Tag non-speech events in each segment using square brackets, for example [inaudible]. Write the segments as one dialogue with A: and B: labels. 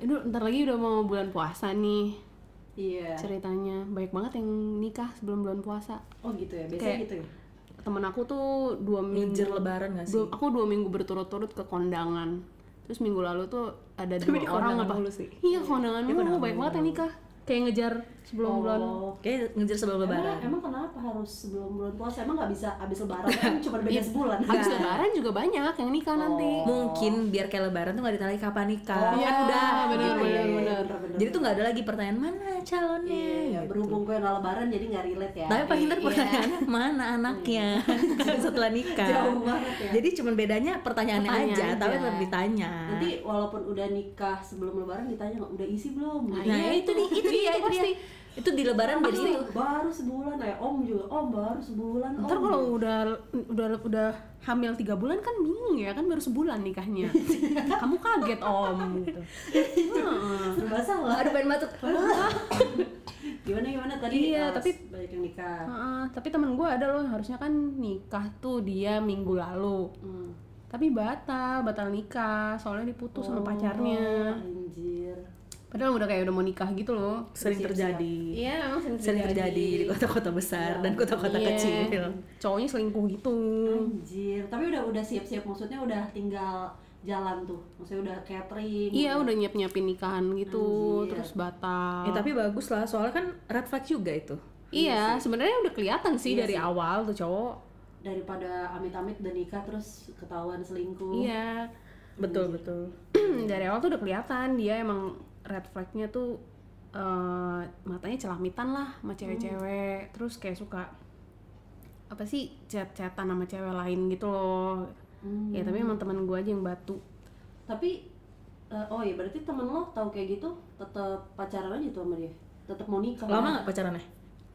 A: bentar lagi udah mau bulan puasa nih
B: Iya.
A: ceritanya. Banyak banget yang nikah sebelum bulan puasa.
B: Oh gitu ya, biasanya
A: Kayak-
B: gitu ya.
A: Temen aku tuh dua minggu
C: Ngejar lebaran nggak sih?
A: dua- aku dua minggu berturut-turut ke kondangan. Terus minggu lalu tuh ada
C: Tapi
A: dua
C: di
A: orang
C: kondangan
A: apa?
C: mulu sih.
A: Iya kondangan
C: Di
A: mulu
C: kondangan
A: banyak
C: mulu. iya. Oh,
A: banget yang nikah. Kayak ngejar sebelum bulan.
C: Kayak ngejar sebelum
B: Oh. Emang,
C: lebaran.
B: emang kenapa harus sebelum bulan puasa? Emang nggak bisa abis
A: [laughs]
B: lebaran kan cuma beda sebulan.
A: Iya.
B: Iya.
A: Habis lebaran juga banyak yang nikah nanti.
C: Oh. Mungkin biar kayak lebaran tuh nggak ditanya kapan nikah.
B: Oh,
C: Kan
A: iya,
C: udah.
A: bener,
C: gitu.
A: bener,
B: Iya,
A: bener.
B: bener-bener.
C: Jadi tuh nggak ada lagi pertanyaan mana calonnya.
B: Iya, iya,
C: gitu.
B: berhubung gue nggak lebaran jadi nggak relate ya.
C: Tapi paling ntar
A: Iya.
C: pertanyaannya mana [laughs] anaknya setelah nikah.
B: Jauh banget ya.
C: Jadi cuman bedanya pertanyaannya
A: Pertanyaan
C: aja, tapi
A: aja.
C: tetap ditanya.
B: Nanti walaupun udah nikah sebelum lebaran ditanya nggak udah isi belum? Gitu.
A: Nah,
C: nah,
A: iya,
C: itu, di- itu [laughs] dia, itu dia. Itu di lebaran jadi
B: Baru,
C: itu.
B: baru sebulan ya, om juga, om baru sebulan, om. Gitu.
A: Ntar
C: Oh.
A: kalau udah udah udah hamil tiga bulan kan bingung ya kan baru sebulan
C: [laughs]
A: nikahnya. Kamu kaget om gitu.
B: [laughs]
A: Heeh.
B: serba salah.
C: Aduh pengen batuk.
B: gimana gimana tadi?
A: Iya,
B: eh,
A: tapi-
B: banyak yang nikah.
A: Heeh, tapi temen gue ada loh yang harusnya kan nikah tuh dia minggu lalu.
B: Hmm.
A: Tapi batal batal nikah soalnya diputus sama pacarnya.
B: Oh, Anjir.
A: Padahal udah kayak udah mau nikah gitu loh.
C: Sering terjadi.
A: Iya, emang
C: Sering gitu. terjadi di kota-kota besar dan kota-kota
A: Iya.
C: kecil.
A: Cowoknya selingkuh gitu.
B: Anjir, tapi udah udah siap-siap maksudnya udah tinggal jalan tuh. Maksudnya udah catering.
A: Iya, udah nyiap-nyiapin nikahan gitu,
B: Anjir.
A: terus batal.
C: Ya, tapi bagus lah, soalnya kan red flag juga itu.
A: Iya, sebenarnya udah kelihatan sih
B: Iya
A: dari
B: sih.
A: awal tuh cowok.
B: daripada amit-amit udah nikah terus ketahuan selingkuh.
A: Iya,
C: Betul, betul.
A: [clears throat] dari awal tuh udah kelihatan dia emang red flagnya tuh eh, matanya celamitan lah sama cewek-cewek, terus kayak suka apa sih chat-chatan sama cewek lain gitu loh.
B: Hmm.
A: Ya tapi emang teman gue aja yang batu.
B: Tapi eh, oh iya berarti temen lo tahu kayak gitu tetap pacaran aja tuh sama dia. Tetap mau nikah.
C: Lama nggak pacarannya?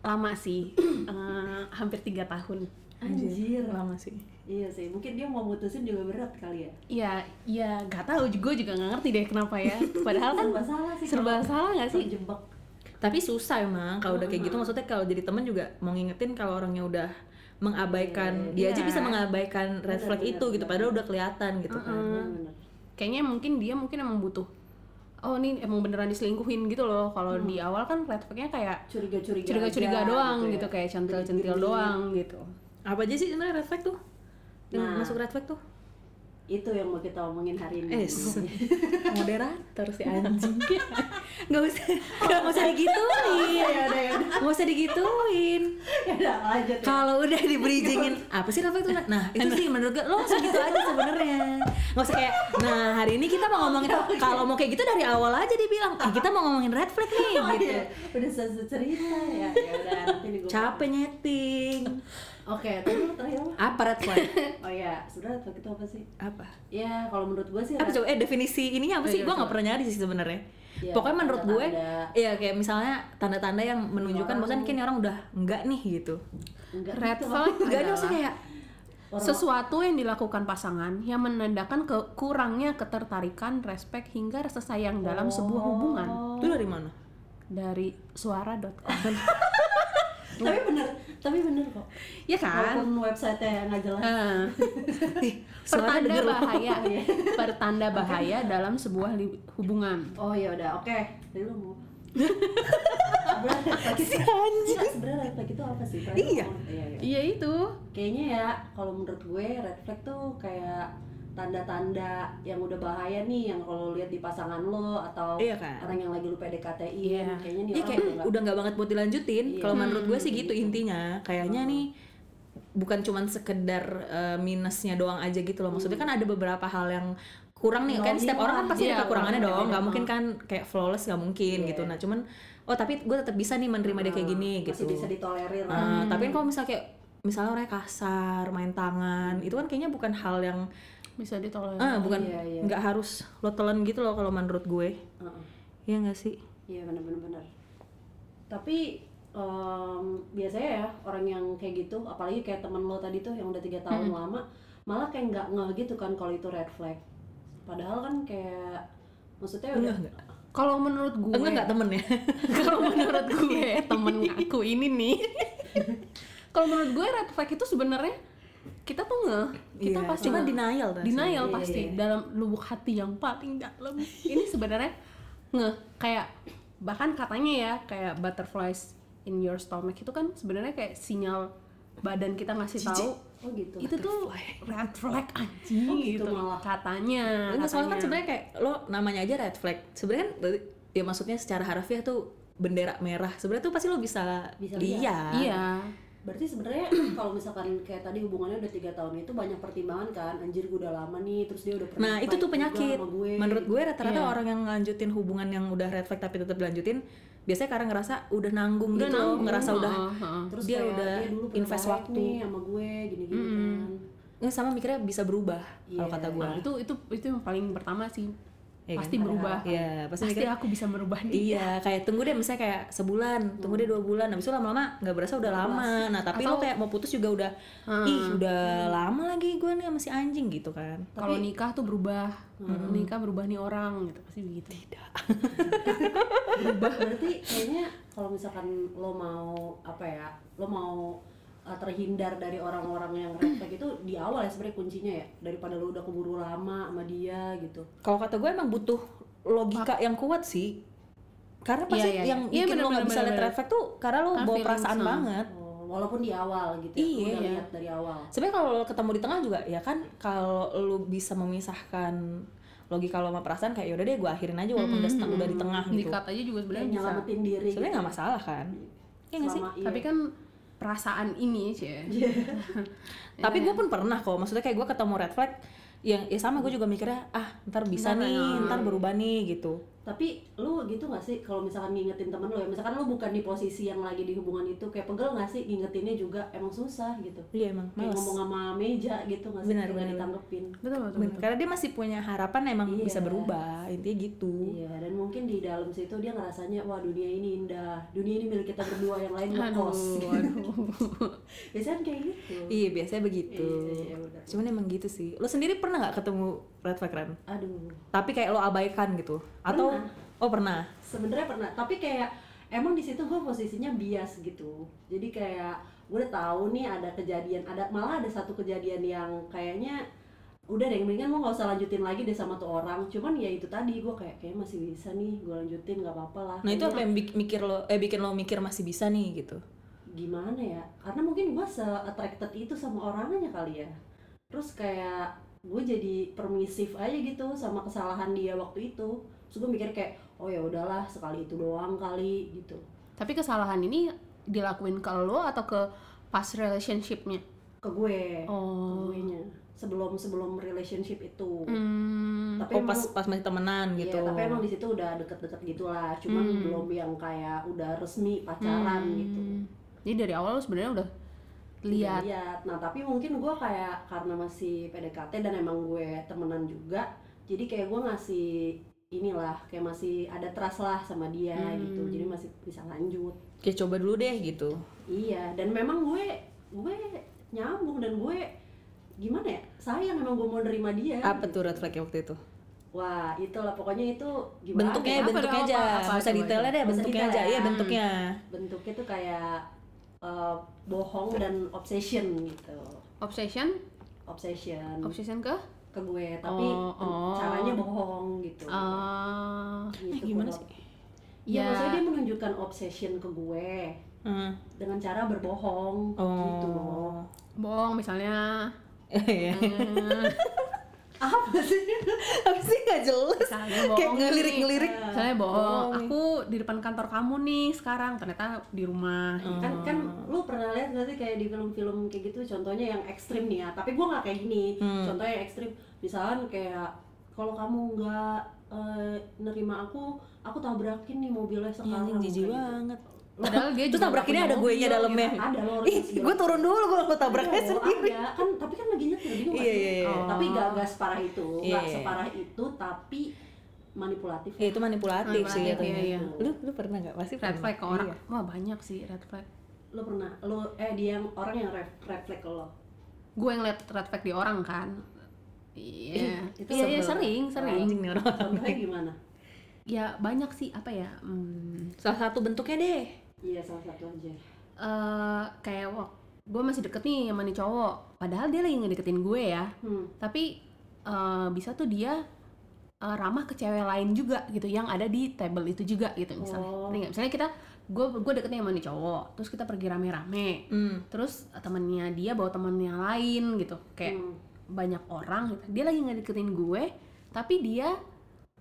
A: Lama sih, eh, hampir tiga tahun.
B: Anjir.
C: Lama sih.
B: Iya sih, mungkin dia mau mutusin juga berat kali ya.
A: Iya, iya gak tahu juga juga nggak ngerti deh kenapa ya. Padahal kan
B: Serba salah sih
A: serba
B: kalau-
A: salah nggak sih?
B: Terjebak.
C: Tapi susah emang kalau udah kayak gitu maksudnya kalau jadi temen juga mau ngingetin kalau orangnya udah mengabaikan dia aja
A: Iya.
C: bisa mengabaikan red
B: Benar,
C: flag
B: benar,
C: itu gitu
B: benar.
C: padahal udah kelihatan gitu
A: Hmm.
C: kan.
B: Bener-bener.
A: kayaknya mungkin dia mungkin emang butuh oh ini emang beneran diselingkuhin gitu loh kalau di awal kan red flag-nya kayak
B: Curiga-curiga.
A: curiga-curiga
B: aja
A: doang gitu,
B: ya.
A: kayak centil-centil
B: Geli-geli.
A: doang gitu
C: Apa aja sih sebenarnya red flag tuh? Yang
B: Nah.
C: masuk red flag
B: [laughs]
C: tuh?
B: Itu yang mau kita omongin hari ini.
C: Eh,
B: [laughs]
C: moderator si
A: [laughs]
C: anjing. Nggak
B: [laughs]
C: usah, nggak usah digituin.
B: ya udah ya udah.
C: Nggak usah digituin.
B: [laughs] Ya udah lanjut. ya.
C: Kalau udah di
B: [laughs]
C: bridgingin, apa sih Rafa itu? Nah itu sih menurut gue, lo langsung gitu aja sebenarnya. Nggak usah kayak, nah hari ini kita mau
B: [laughs]
C: ngomongin, kalau mau kayak gitu dari awal aja dia bilang, "Ah, kita mau ngomongin red flag nih
B: Oh,
C: gitu.
B: iya. Udah selesai cerita ya. Ya udah nanti nih gua-
C: Capek nyeting.
B: Oke, tadi lu terakhir apa?
C: Apa red flag?
B: Oh iya, sebenarnya topik itu apa sih?
C: Apa?
B: Ya, kalau menurut gue sih
C: Apa coba, eh definisi ininya apa sih? Gue nggak pernah nyari sih sebenarnya.
B: Iya,
C: Pokoknya menurut gue,
B: tanda-tanda.
C: ya kayak misalnya tanda-tanda yang menunjukkan bahwasan kayak ini orang udah enggak nih gitu.
B: enggak
A: red
B: gitu. [laughs]
A: flag
C: Enggak nih maksudnya
A: adalah
C: kayak,
A: sesuatu yang dilakukan pasangan yang menandakan kekurangnya ketertarikan respek hingga rasa sayang dalam
B: Oh.
A: sebuah hubungan
C: itu dari mana?
A: dari suara.com
B: Tapi bener, tapi bener kok.
A: ya kan
B: Walaupun website-nya nggak jelas.
A: Eh,
C: Ih,
A: pertanda
C: suara denger lo.
A: bahaya pertanda bahaya dalam sebuah li- hubungan
B: Oh ya udah, oke. Dari lu
A: [laughs]
B: mau. Sebenarnya red flag itu- Enggak, sebenarnya red flag itu apa sih? Terakhir
C: Iya.
B: ngomong. iya. iya.
A: iya itu
B: Kayaknya ya, kalau menurut gue red flag tuh kayak tanda-tanda yang udah bahaya nih yang kalau lihat di pasangan lo atau
C: Iya kan?
B: orang yang lagi lu PDKT-in
A: Iya.
B: kayaknya nih
C: Iya
B: orang
C: kayak
B: udah nggak-
C: udah nggak banget buat dilanjutin.
B: Iya.
C: Kalau menurut gue sih
B: Hmm,
C: gitu
B: gitu.
C: intinya. Kayaknya nih bukan cuman sekedar eh, minusnya doang aja gitu loh.
B: Hmm.
C: Maksudnya kan ada beberapa hal yang kurang nih. Kan
B: Nol
C: setiap
B: nilai.
C: orang kan pasti
A: Iya,
C: ada kekurangannya
B: kurangnya
C: dong. Nggak
B: beda-beda.
C: mungkin kan kayak flawless nggak mungkin
B: Iya. Hmm.
C: gitu. Nah cuman oh tapi gue tetap bisa nih menerima dia kayak gini
B: Ah,
C: gitu.
B: masih bisa Hmm. ditolerir lah.
C: Nah, tapi kan kalau misalnya kayak misalnya orangnya kasar, main tangan, itu kan kayaknya bukan hal yang
A: bisa ditolerir
C: eh bukan
B: Iya, iya.
C: nggak harus lo telan gitu loh kalau menurut gue.
B: Heeh.
C: Iya nggak sih?
B: Iya benar-benar benar. Tapi em, biasanya ya orang yang kayak gitu, apalagi kayak temen lo tadi tuh yang udah tiga tahun
C: Hmm.
B: lama, malah kayak nggak ngeh gitu kan kalau itu red flag. Padahal kan kayak maksudnya udah
C: Enggak, enggak.
A: Kalau menurut
B: Iya.
A: gue,
C: Enggak enggak temen
B: [laughs]
C: ya.
A: [laughs] kalau menurut gue
C: [laughs]
A: temen aku ini nih, kalau menurut gue red flag itu sebenarnya kita tuh nge, kita
C: Iya,
A: pasti
C: cuma
A: nge.
C: denial kan
A: denial
B: Iya,
A: pasti
B: iya.
A: dalam lubuk hati yang paling dalam. Ini sebenarnya ngeh kayak bahkan katanya ya kayak butterflies in your stomach itu kan sebenarnya kayak sinyal badan kita ngasih
C: Jijik.
A: tahu
B: oh gitu
A: itu tuh red flag anjing
B: Oh, gitu
A: gitu,
B: malah.
A: katanya Nah,
C: Enggak, soalnya kan
A: katanya.
C: sebenarnya kayak lo namanya aja red flag. Sebenarnya kan berarti- ya maksudnya secara harfiah tuh bendera merah. Sebenarnya tuh pasti lo bisa,
B: Bisa
C: lihat.
A: iya
B: berarti sebenarnya [clears throat] kalau misalkan kayak tadi hubungannya udah tiga tahun itu banyak pertimbangan kan anjir gue udah lama nih terus dia udah pernah
C: Nah itu
B: baik
C: tuh
B: juga
C: penyakit.
B: sama gue.
C: Menurut gue rata-rata
A: Iya.
C: orang yang ngelanjutin hubungan yang udah red flag tapi tetap lanjutin biasanya karena ngerasa udah
A: udah
C: nanggung gitu loh,
A: nanggung,
C: ngerasa udah
A: heeh, heeh.
B: terus
C: dia
B: kayak,
C: udah
B: dia dulu pernah
C: invest
B: baik
C: waktu.
B: nih sama gue gini-gini kan
C: Nggak, sama mikirnya bisa berubah kalau
B: Iya.
C: kata gue.
A: Nah, itu itu itu yang paling pertama sih
C: Ah. Iya
A: pasti
C: kan?
A: berubah
C: Iya, pasti
A: pasti,
C: mikirnya-
A: aku bisa merubah nih
C: Iya, kayak tunggu deh misalnya kayak sebulan, tunggu deh dua bulan, habis itu lama-lama nggak berasa udah lama. Nah tapi
A: Hmm. Atau-
C: lo
A: Hmm.
C: kayak mau putus juga udah, ih udah lama lagi gue nih masih anjing gitu kan.
A: kalau nikah tuh berubah
C: Hmm.
A: nikah berubah nih orang gitu pasti begitu
B: berarti kayaknya kalau misalkan lo mau apa ya lo mau uh, terhindar dari orang-orang yang red flag itu di awal ya sebenarnya kuncinya ya daripada lo udah keburu lama sama dia gitu
C: Kalau kata gue emang butuh logika yang kuat sih. Karena pasti
A: Iya, iya,
C: yang
A: iya. Iya,
C: bikin
A: bener,
C: lo nggak
A: bener,
C: bisa lihat
A: bener.
C: red flag tuh karena lo
A: Karena
C: bawa
A: feelings,
C: perasaan
A: nah.
C: banget.
B: Oh, walaupun di awal gitu ya, lo
C: Iya.
B: udah lihat dari awal
C: Sebenarnya kalau lo ketemu di tengah juga ya kan kalau lo bisa memisahkan logika lo sama perasaan kayak yaudah deh gue akhirin aja walaupun
A: Hmm,
C: udah setengah udah di tengah gitu.
A: dikat aja juga
B: Kayak
A: sebenarnya bisa
B: nyelamatin diri gitu
C: Sebenarnya nggak masalah kan. Iya nggak sih?
B: Selama- iya.
A: tapi kan perasaan ini sih
C: Iya, Tapi gue pun pernah kok, maksudnya kayak gue ketemu red flag yang ya sama gue juga mikirnya ah ntar bisa
A: Ntar,
C: nih,
A: ya.
C: ntar berubah nih gitu.
B: tapi lu gitu gak sih kalau misalkan ngingetin temen lu ya misalkan lu bukan di posisi yang lagi di hubungan itu kayak pegel gak sih ngingetinnya juga emang susah gitu
C: Iya emang
B: kayak
C: males.
B: ngomong sama meja gitu gak sih Kayak
C: Benar, benar,
B: nggak
C: benar.
B: ditanggepin
A: betul betul,
C: Bener,
A: betul.
C: Karena dia masih punya harapan emang
B: Iya.
C: bisa berubah intinya gitu.
B: iya dan mungkin di dalam situ dia ngerasanya wah dunia ini indah dunia ini milik kita berdua yang lain
A: aduh
B: ngekos [laughs]
A: aduh
B: biasanya kan kayak gitu
C: Iya biasanya begitu.
B: Iya, iya, benar.
C: Cuman emang gitu sih. Lo sendiri pernah nggak ketemu red flag Ren?
B: aduh
C: Tapi kayak lo abaikan gitu? Atau oh pernah?
B: sebenarnya pernah tapi kayak emang di situ gue posisinya bias gitu jadi kayak gue udah tahu nih ada kejadian ada malah ada satu kejadian yang kayaknya udah deh mendingan gue nggak usah lanjutin lagi deh sama tuh orang cuman ya itu tadi gue kayak kayaknya masih bisa nih gue lanjutin nggak apa-apa lah
C: Nah itu apa yang bik- mikir lo eh bikin lo mikir masih bisa nih gitu?
B: gimana ya karena mungkin gue se attracted itu sama orangnya kali ya terus kayak gue jadi permisif aja gitu sama kesalahan dia waktu itu terus gue mikir kayak oh ya udahlah sekali itu doang kali gitu
A: [laughs] tapi kesalahan ini dilakuin ke lo atau ke pas relationshipnya
B: ke
C: Eh,
B: gue ke
A: oh
B: guenya. sebelum sebelum relationship itu
A: Hmm.
B: tapi
C: Oh
B: emang,
C: pas pas masih temenan
B: iya,
C: gitu?
B: tapi emang di situ udah deket-deket gitulah cuman
A: Hmm.
B: belum yang kayak udah resmi pacaran
A: Hmm.
B: gitu
A: jadi dari awal lo sebenarnya udah
B: Udah
C: Iya.
A: lihat
B: lihat nah tapi mungkin gue kayak karena masih PDKT dan emang gue temenan juga jadi kayak gue ngasih inilah kayak masih ada trust lah sama dia
A: Hmm.
B: gitu jadi masih bisa lanjut
C: Kayak coba dulu deh gitu.
B: Iya, dan memang gue gue nyambung dan gue gimana ya? Sayang emang gue mau nerima dia. gitu.
C: Apa tuh red flag waktu itu?
B: Wah, itulah pokoknya itu gimana? ya?
C: bentuknya ya?
A: Apa
C: bentuknya
A: dong,
C: aja
A: apa- apa
C: nggak usah
A: coba
C: detailnya deh
B: Nggak usah
C: bentuknya aja
B: detail ya.
C: iya bentuknya
B: bentuknya tuh kayak eh, bohong dan obsession gitu.
A: obsession
B: Obsession
A: obsession ke
B: ke gue, tapi
A: Oh, oh.
B: caranya bohong gitu.
A: Ah,
B: Gitu,
C: Eh, Oh. gimana
B: Bro.
C: sih?
B: Iya,
A: Ya.
B: maksudnya dia menunjukkan obsession ke gue
C: Heeh.
B: dengan cara berbohong gitu loh.
C: oh
A: bohong misalnya
C: Iya.
A: Hmm,
B: Apa sih?
C: [laughs] apa sih nggak jelas
A: misalnya
C: kayak
A: bohong nih.
C: ngelirik ngelirik
A: misalnya bohong
C: Bohong.
A: aku di depan kantor kamu nih sekarang ternyata di rumah
C: Hmm.
B: kan
C: Oh.
B: kan lu pernah lihat nggak sih kayak di film-film kayak gitu contohnya yang ekstrim nih ya tapi gua nggak kayak gini
C: Hmm.
B: contohnya yang ekstrim misalkan kayak kalau kamu nggak eh, nerima aku aku tabrakin nih mobilnya
C: Iya,
B: sekarang
C: anjing jijik
B: Kayak gitu.
C: banget
A: padahal dia
C: Terus
A: juga
C: tabrak
A: nggak
C: ini
A: punya
C: ada guenya
A: mobil,
C: dalamnya.
A: gitu.
B: ada loh
C: ih gue turun dulu gue lo tabraknya
B: ada,
C: sendiri
B: ada. kan tapi kan lagi nyetir jadi nggak
C: Iya,
B: sih?
C: iya, iya.
B: Oh. tapi gak, gak separah itu nggak
C: Iya.
B: separah itu tapi manipulatif
C: ya itu manipulatif sih
A: Manipulatif,
C: katanya.
A: iya, iya.
C: lu lu pernah nggak pasti
A: red
C: pernah.
A: flag ke orang
C: Iya.
A: wah banyak sih red flag
B: lo pernah lo eh dia yang orang yang ref, refleks ke lo
A: gue yang liat red flag di orang kan iya
B: Ih, itu
A: iya iya,
B: sebel.
A: sering sering
C: anjing nih orang [laughs]
B: contohnya gimana
A: ya banyak sih apa ya hmm,
C: salah satu bentuknya deh
B: iya salah satu aja
A: eh, kayak wah gue masih deket nih sama nih cowok padahal dia lagi ngedeketin gue ya
B: hmm.
A: tapi eh, bisa tuh dia eh, ramah ke cewek lain juga gitu yang ada di table itu juga gitu misalnya
B: Oh.
A: Ngerti nggak? misalnya kita gue gue deketnya sama nih cowok terus kita pergi rame-rame
C: Hmm.
A: terus temennya dia bawa temennya lain gitu kayak
B: Hmm.
A: banyak orang gitu. dia lagi ngedeketin gue tapi dia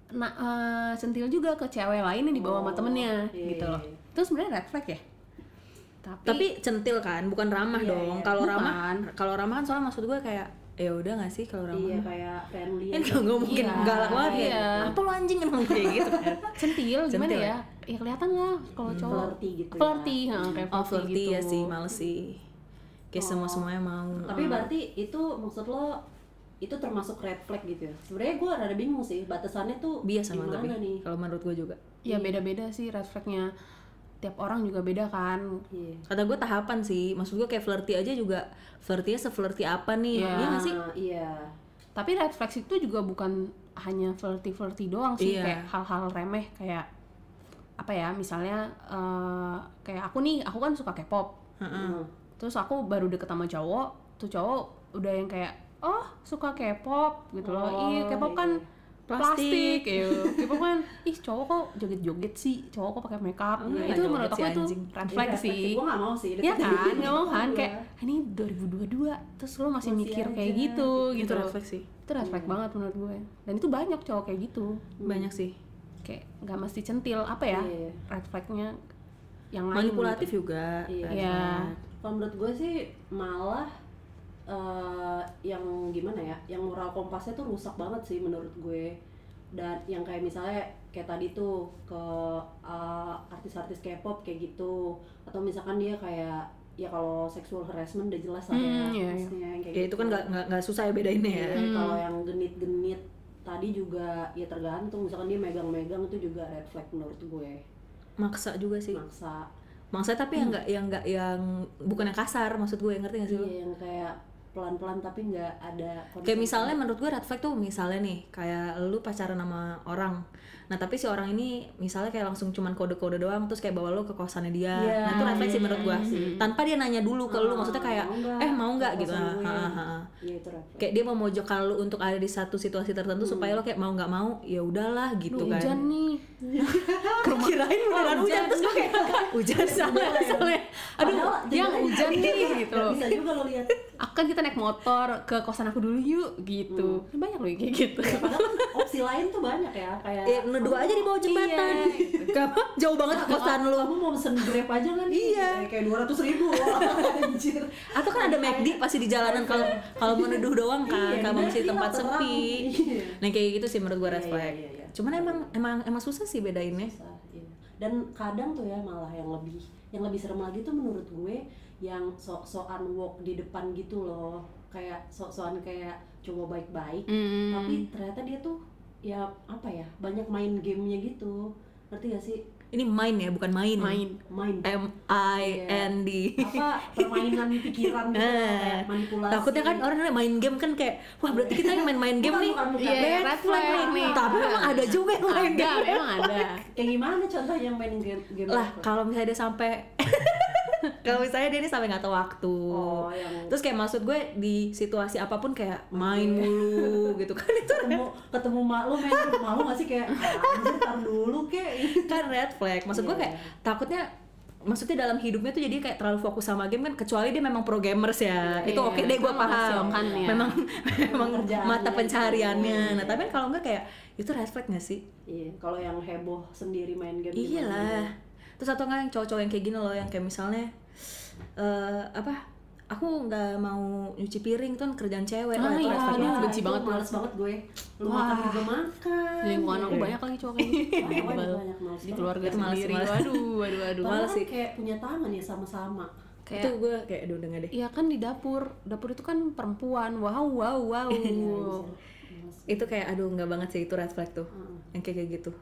A: na- eh, sentil juga ke cewek lain yang dibawa sama
B: Oh,
A: temennya
B: iya,
A: gitu
B: iya,
A: loh
B: iya.
A: itu sebenarnya red flag ya tapi,
C: Tapi centil kan, bukan ramah
B: Iya,
C: dong.
B: iya.
C: Kalau
A: Bukan.
C: ramah, kalau ramah kan soalnya maksud gue kayak ya udah nggak sih kalau ramah.
B: iya
C: mah?
B: kayak gitu. friendly
C: Kan nggak nggak mungkin
A: Iya,
C: galak banget ya.
A: iya.
C: Apa lo anjing emang kayak gitu [laughs] kan?
B: [laughs]
A: centil gimana
C: Centil
A: ya ya kelihatan lah kalau cowok
B: flirty gitu ya.
A: flirty heeh, kayak
C: Oh flirty
A: gitu.
C: ya sih, males sih. Kayak semua semuanya mau.
B: ya. tapi berarti itu maksud lo itu termasuk red flag gitu ya sebenarnya gue rada bingung sih batasannya tuh
C: biasa mah
B: gimana
C: tapi
B: nih
C: kalau menurut gue juga.
A: ya beda-beda sih red flagnya tiap orang juga beda kan
B: Iya.
C: Kata gue tahapan sih, maksud gue kayak flirty aja juga flirty seflirty apa nih?
A: Iya.
C: Iya nggak sih?
B: Ah, iya
A: tapi red flags itu juga bukan hanya flirty flirty doang sih
C: Iya.
A: kayak hal-hal remeh kayak apa ya misalnya eh, kayak aku nih aku kan suka K-pop
B: Heeh.
A: terus aku baru deket sama cowok tuh cowok udah yang kayak oh suka K-pop gitu loh
B: Oh,
A: iya K-pop
B: iya,
A: kan
B: iya.
A: plastik, iya.
C: [laughs]
A: K-pop kan ih cowok kok joget-joget sih cowok kok pakai makeup
C: Oh,
A: Nah,
C: iya,
A: itu menurut
C: joget
A: aku
C: si
A: itu
C: anjing.
A: red flag sih
B: gue gak mau Iya, sih
A: Iya
B: deketin
A: kan,
B: dia.
A: nggak mau kan
B: Iya.
A: kayak "Ah, ini 2022 terus lo masih,
B: Masih
A: mikir kayak
B: aja.
A: gitu gitu
C: Itu
A: loh.
C: refleks sih.
A: Itu red flag banget menurut gue. Dan itu banyak cowok kayak gitu.
C: Banyak sih.
A: Kayak nggak mesti centil apa ya?
B: Iya.
A: Red flagnya yang lain.
C: Manipulatif
A: gitu.
C: juga.
B: Iya.
C: kan.
A: Iya.
B: kalau menurut gue sih malah eh, yang gimana ya yang moral kompasnya tuh rusak banget sih menurut gue dan yang kayak misalnya kayak tadi tuh ke eh, artis-artis K-pop kayak gitu atau misalkan dia kayak ya kalau sexual harassment udah jelas lah ya
A: Hmm, iya, iya.
B: maksudnya yang kayak gitu.
C: Ya itu kan nggak nggak nggak susah ya bedainnya ya.
B: Iya,
A: Hmm.
B: kalau yang genit-genit tadi juga ya tergantung misalkan dia megang-megang itu juga red flag menurut gue
C: Maksa juga sih.
B: maksa
C: Maksa tapi yang nggak yang nggak yang bukan yang kasar maksud gue ngerti nggak sih lo?
B: Iya yang kayak pelan-pelan tapi nggak ada
C: gitu. Kayak misalnya menurut gue red flag tuh misalnya nih kayak lu pacaran sama orang. Nah, tapi si orang ini misalnya kayak langsung cuman kode-kode doang terus kayak bawa lu ke kosannya dia.
B: Iya.
C: Nah, itu red flag sih menurut gue. Tanpa dia nanya dulu ke
B: Ah,
C: lu maksudnya kayak
B: mau nggak?
C: eh mau nggak
B: Ke
C: gitu.
B: kosan gue.
C: Ah, ah, ah.
B: Iya itu red flag.
C: Kayak dia memojokkan lu untuk ada di satu situasi tertentu supaya lo kayak mau nggak mau ya udahlah gitu
A: Duh,
C: kan.
A: hujan nih.
C: [laughs] Kirain beneran
A: Oh,
C: hujan
A: hujan.
C: terus gue kayak [laughs] hujan salah soalnya.
A: Aduh,
B: Padahal
A: yang
B: jangan-
A: hujan nih gitu.
B: Nggak bisa juga lo lihat.
A: Akan "Ah, kan kita naik motor ke kosan aku dulu yuk gitu. Banyak loh yang kayak gitu.
B: Ya, padahal kan opsi lain tuh banyak ya kayak
C: Ya, nuduh aja di bawah jembatan.
A: Iya.
C: Gak apa, jauh banget ke kosan lu.
B: kamu mau pesen grab aja kan iya kayak dua ratus
C: [laughs]
B: ribu anjir
C: Atau kan ada McD pasti di jalanan
B: [laughs]
C: kalau kalau mau nuduh doang kan,
B: Iya,
C: kalau
B: bener,
C: mesti
B: iya,
C: tempat
B: terang.
C: sepi.
B: Iya.
C: Nah kayak gitu sih menurut gua red
B: Iya, iya,
C: flag.
B: iya, iya.
C: Cuman emang emang emang susah sih bedainnya.
B: Susah, iya. dan kadang tuh ya malah yang lebih yang lebih serem lagi tuh menurut gue yang sok-sokan walk di depan gitu loh kayak sok-sokan kayak coba baik-baik
A: Hmm.
B: tapi ternyata dia tuh ya apa ya banyak main gamenya gitu ngerti gak sih
C: Ini main ya, bukan main.
A: main.
B: main Iya.
C: M I N D.
B: apa permainan pikiran gitu
C: Eh,
B: kayak manipulasi
C: Takutnya kan orang namanya main game kan kayak wah berarti kita yang main-main game
B: Bukan, Iya.
C: nih.
B: bukan, bukan.
A: Iya, red
C: Red flag
A: flag
C: nih.
A: nih.
C: Tapi memang ada juga yang main
A: Ada,
C: game.
A: memang ada.
B: kayak gimana contohnya yang main game game
C: lah
B: apa?
C: kalau misalnya dia sampai [laughs] kalau misalnya dia ini sampai nggak tahu waktu
B: Oh, yang-
C: terus kayak maksud gue di situasi apapun kayak main
B: Iya.
C: mulu gitu kan
B: [laughs]
C: itu
B: ketemu ketemu mak lu main game malu gak sih kayak "Ah, anjir tar dulu kek
C: kan red flag maksud gue
B: Iya.
C: kayak takutnya maksudnya dalam hidupnya tuh jadi kayak terlalu fokus sama game kan kecuali dia memang pro gamers ya itu
A: Iya,
C: oke deh gue
A: memang
C: paham
A: masih kan ya.
C: memang [laughs] memang
B: Pekerjaannya.
C: mata pencahariannya nah tapi kan kalau enggak kayak itu red flag nggak sih
B: Iya, kalau yang heboh sendiri main game gimana
C: Iya lah.
B: gitu.
C: Terus atau enggak yang cowok-cowok yang kayak gini loh, yang kayak misalnya eh apa? Aku nggak mau nyuci piring tuh kan kerjaan cewek.
B: Nah,
A: Ah,
C: itu
A: iya,
C: red flag
A: aduh,
C: banget.
A: benci
B: itu
A: banget.
B: males banget gue lu
A: Wah.
B: makan juga makan
A: lingkungan aku
C: Iya.
A: banyak lagi cowok kayak gitu.
B: Banyak,
A: Wah,
B: banyak,
A: bal-
B: banyak, males
A: di
B: banget.
A: keluarga
C: Itu males,
A: sendiri
C: males.
A: waduh waduh waduh
B: Padahal
C: Males
B: kan
C: sih.
B: kayak punya tangan ya sama-sama
C: Itu
A: kayak
C: gue kayak aduh dengar deh.
A: Iya kan di dapur, dapur itu kan perempuan, wow wow wow.
C: [laughs] Iya,
B: Males.
C: Itu kayak aduh nggak banget sih itu red flag tuh.
B: Heeh.
C: Yang kayak kayak gitu.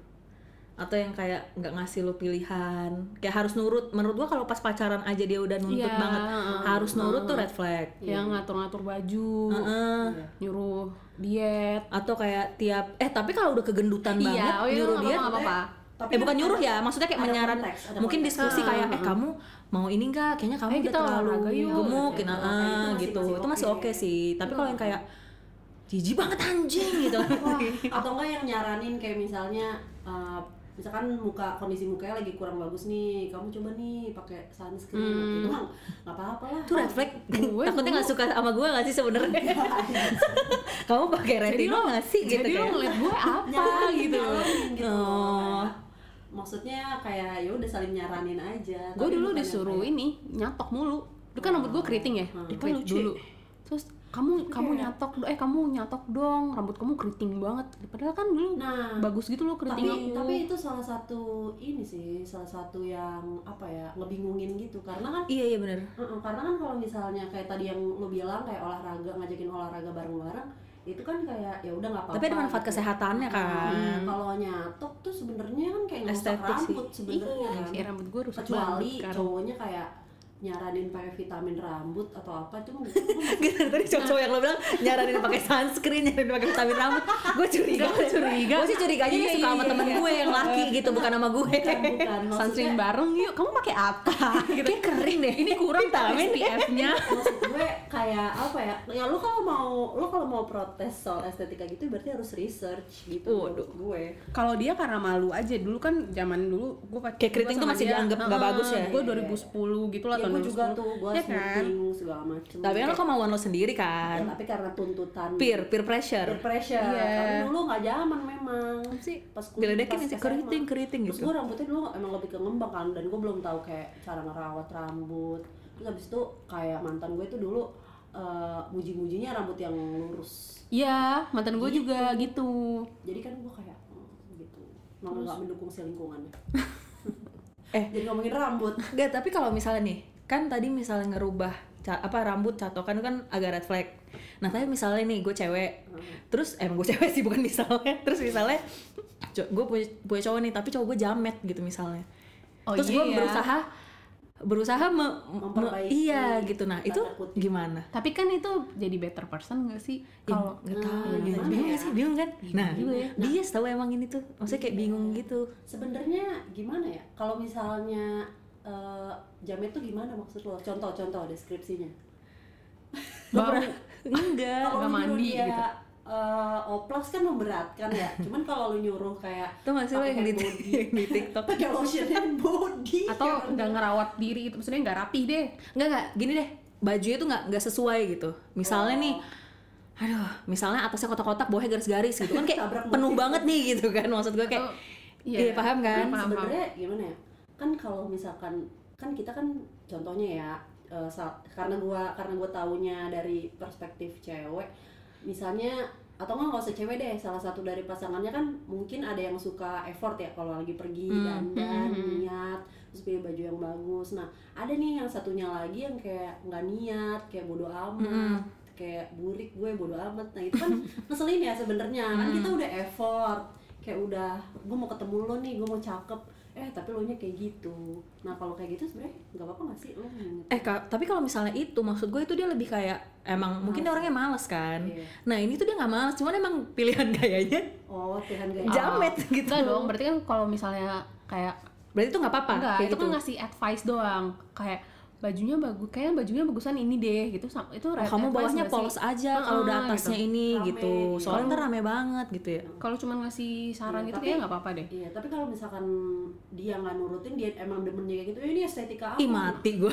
C: Atau yang kayak nggak ngasih lo pilihan, kayak harus nurut. Menurut gua kalau pas pacaran aja dia udah nuntut
A: Iya,
C: banget,
A: heeh, Iya.
C: harus nurut tuh red flag.
A: Yang ngatur-ngatur baju,
C: Heeh.
B: Iya.
A: nyuruh diet.
C: Atau kayak tiap eh tapi kalau udah kegendutan
A: Iya,
C: banget
A: oh iya,
C: nyuruh
A: nggak
C: dia
A: apa-apa, nggak apa-apa.
B: Tapi
C: eh bukan
B: ada-
C: nyuruh ya, maksudnya kayak
B: ada
C: menyaran,
B: konteks, ada
C: mungkin
B: konteks.
C: diskusi kayak eh kamu mau ini enggak? Kayaknya kamu
A: Eh,
C: udah
A: kita
C: terlalu
A: olahraga yuk.
C: gemuk,
A: Gitu.
C: nah,
B: Nah, itu masih-
C: gitu.
B: masih
C: itu masih
B: oke.
C: oke sih. Tapi kalau yang kayak jijik banget anjing
A: [laughs]
C: gitu
B: Wah, atau enggak yang nyaranin kayak misalnya eh, misalkan muka kondisi mukanya lagi kurang bagus nih kamu coba nih pakai sunscreen gitu bang nggak apa-apa lah
C: itu red flag
A: Gue
C: [laughs] takutnya nggak suka sama gue nggak sih sebenarnya [laughs] kamu pakai retinol nggak sih gitu
A: jadi lo
C: kayak
A: ngeliat
C: [laughs]
A: gue apa
B: nyaranin
A: gitu
B: nyaranin gitu
C: Oh.
B: Kayak, maksudnya kayak ya udah saling nyaranin aja
A: gue
B: Tapi
A: dulu
B: bukan yang
A: disuruh
B: kayak-
A: ini nyatok mulu itu kan rambut gue keriting ya
B: Hmm.
A: Dikit dulu terus kamu kamu nyatok eh kamu nyatok dong rambut kamu keriting banget padahal kan dulu
B: nah
A: bagus gitu loh
B: tapi
A: keriting
B: tapi
A: aku
B: itu salah satu ini sih salah satu yang apa ya ngebingungin gitu karena kan
C: iya iya bener [laughs]
B: Heeh, karena kan kalau misalnya kayak tadi yang lu bilang kayak olahraga ngajakin olahraga bareng-bareng itu kan kayak ya udah nggak apa-apa.
C: tapi ada manfaat
B: gitu.
C: kesehatannya kan
B: Hmm, kalau nyatok tuh sebenarnya kan kayak ngerusak
C: Estetik sih.
B: rambut sebenarnya kan.
A: Iya, rambut gue rusak
B: Kecuali
A: banget sekarang.
B: cowoknya kayak nyaranin pakai vitamin rambut atau apa itu mungkin
C: Gitu, tadi cowok-cowok yang lo bilang nyaranin pakai sunscreen, nyaranin pakai vitamin rambut Gue curiga,
A: Nggak, gua curiga.
C: Gue sih curiga aja
A: Iya,
C: dia suka
A: iya,
C: sama
A: iya,
C: temen
A: iya.
C: gue yang laki gitu, bukan sama gue
B: bukan
A: sunscreen
B: maksudnya
A: bareng yuk kamu pakai apa [laughs] gitu
C: Kayak kering deh,
A: ini kurang tak
C: Vitamin.
A: SPF-nya
B: maksud gue kayak apa ya ya lu kalau mau lu kalau mau protes soal estetika gitu berarti harus research gitu
A: Waduh.
B: menurut gue
A: kalau dia karena malu aja dulu kan zaman dulu gue pakai
C: Kayak keriting tuh masih dianggap nggak bagus ya?
A: gue
B: Iya, iya,
A: 2010 gitu lah
B: ya
A: tahun
B: gue juga
A: 2010.
B: tuh gue
A: Iya
B: harus
A: kan
B: meeting, segala macem
C: Tapi kan lo
B: Kayak-
C: kemauan lo sendiri
B: Ya,
C: kan
B: tapi karena tuntutan
C: Peer, peer
B: peer
C: pressure
B: pressure
A: Iya.
B: Karena dulu nggak zaman memang
C: Apa sih?
B: pas kuliah,
C: Diledekin
B: pas
C: sih,
B: SMA.
C: keriting, keriting
B: terus
C: gitu
B: gue rambutnya dulu emang lebih ke ngembang kan dan gue belum tahu kayak cara ngerawat rambut terus habis itu kayak mantan gue tuh dulu eh, muji-mujinya rambut yang lurus
A: iya mantan gue juga gitu
B: jadi kan gue kayak hmm, gitu malah nggak mendukung selingkuhannya
C: Eh.
B: jadi ngomongin rambut
C: Gak, tapi kalau misalnya nih, kan tadi misalnya ngerubah ca- apa rambut catokan itu kan agak red flag. Nah, tapi misalnya nih gue cewek,
B: Hmm.
C: terus eh, emang gue [laughs] cewek sih bukan misalnya, terus misalnya gue punya, punya cowok nih, tapi cowok gue jamet gitu misalnya.
A: Oh,
C: terus
A: iya
C: gue
A: ya.
C: berusaha berusaha me- me-
B: Memperbaiki,
C: iya gitu. Nah, itu
B: tanda kutip.
C: gimana?
A: tapi kan itu jadi better person gak sih kalau
C: nggak tahu
B: Hmm,
C: gitu.
B: gimana
C: bingung nggak
B: ya?
C: sih bingung kan nah
A: juga ya.
C: dia tahu emang ini tuh maksudnya
B: Iya.
C: kayak bingung
B: [laughs]
C: gitu
B: sebenarnya gimana ya kalau misalnya eh, jamet tuh gimana maksud lo contoh-contoh deskripsinya
C: Lo
A: Bau.
C: pernah- enggak
B: kalau
A: nggak
B: lu nyuruh
A: mandi
B: dia
A: gitu.
B: eh, oplas kan memberatkan
A: [laughs]
B: ya cuman kalau lu nyuruh kayak
C: tuh maksudnya
B: pakai
C: yang [laughs] di,
B: hand body,
C: yang di TikTok
B: pakai lotion hand body gitu.
A: atau nggak ngerawat diri itu maksudnya nggak rapih deh
C: Enggak enggak, gini deh. Bajunya tuh nggak nggak sesuai gitu. Misalnya
B: Oh.
C: nih aduh, misalnya atasnya kotak-kotak, bawahnya garis-garis gitu kan kayak
B: Tabrak
C: penuh
B: mobil.
C: banget nih gitu kan. Maksud gue kayak
A: Atau-
C: Iya, paham kan?
A: Iya, paham, paham.
B: Oh, sebenarnya gimana ya kan kalau misalkan kan kita kan contohnya ya eh, sa- karena gua karena gua taunya dari perspektif cewek misalnya atau nggak nggak usah cewek deh salah satu dari pasangannya kan mungkin ada yang suka effort ya kalau lagi pergi
C: Hmm,
B: dandan
A: hmm, hmm.
B: niat terus pilih baju yang bagus nah ada nih yang satunya lagi yang kayak nggak niat kayak bodoh amat kayak burik gue bodoh amat nah itu
C: [laughs]
B: kan ngeselin ya sebenarnya kan kita udah effort kayak udah gue mau ketemu lo nih gue mau cakep eh tapi lo nya kayak gitu nah kalau kayak gitu sebenarnya nggak apa-apa nggak sih lo nginget
C: eh ka- tapi kalau misalnya itu maksud gue itu dia lebih kayak emang mungkin dia orangnya males kan.
B: Iya.
C: Nah, ini tuh dia nggak males, cuman emang pilihan gayanya
B: oh Tuhan gak
C: Ja- Jamet
A: Ah,
C: gitu.
A: enggak dong berarti kan kalau misalnya kayak
C: berarti itu nggak apa-apa.
A: enggak
C: kayak
A: itu
C: gitu.
A: kan ngasih advice doang kayak bajunya bagus kayak bajunya bagusan ini deh gitu sam- itu
C: Oh,
A: red
C: kamu
A: advice
C: bawahnya
A: nggak sih?
C: polos aja, kalau
A: Heeh,
C: udah atasnya
A: gitu.
C: ini
B: Rame,
C: gitu.
B: gitu.
C: Soalnya ntar rame banget gitu ya.
A: kalau cuma ngasih saran
B: Iya,
A: gitu
B: tapi-
A: kayaknya nggak apa-apa deh [laughs]
B: iya tapi kalau misalkan dia nggak nurutin dia emang demennya kayak gitu eh, ini estetika aku
C: Ih, mati gue.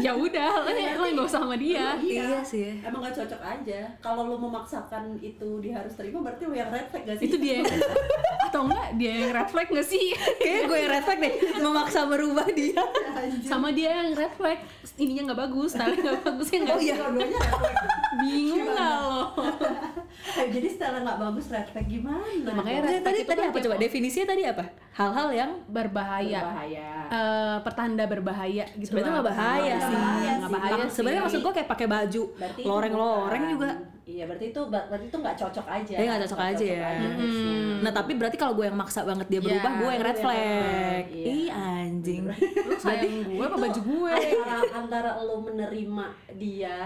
A: ya udah lo lo nggak usah sama dia
C: Iya sih.
B: Oh, Emang gak cocok aja. Kalau lu memaksakan itu dia harus terima berarti lu yang red flag gak sih?
A: itu dia yang- [laughs] atau enggak dia yang red flag nggak sih
C: [laughs] Kayaknya gue yang red flag deh, memaksa merubah dia.
A: sama dia yang red flag ininya nggak bagus tapi nggak bagus ya nggak
C: Oh, iya.
B: Dua-duanya red flag.
A: bingung nggak lo
B: Eh, Jadi setelah gak bagus red flag gimana?
A: makanya red flag
B: dong?
C: Tadi, Eh, tadi,
A: itu kan
C: tadi apa
A: kayak-
C: coba? Definisinya tadi apa? Hal-hal yang
B: Iya.
A: berbahaya
B: Bahaya.
A: Eh, pertanda berbahaya gitu
C: sebenarnya
A: lah.
C: nggak bahaya
B: Nggak
C: sih.
B: bahaya
C: Nggak
B: sih.
C: bahaya.
B: Tapi-
C: Sebenarnya maksud gue kayak pakai baju
B: Berarti itu
C: loreng-loreng
B: bukan-
C: juga.
B: Iya, berarti itu berarti itu gak cocok aja.
C: Iya, nggak cocok
B: Nggak
C: aja ya.
B: harusnya.
C: Nah tapi berarti kalau gue yang maksa banget dia
A: Iya,
C: berubah, gue yang red
B: gue yang red flag,
C: flag.
B: iya.
C: Ih anjing.
A: lu sayang gue apa
B: Itu
A: baju gue
B: Antara, antara lu menerima dia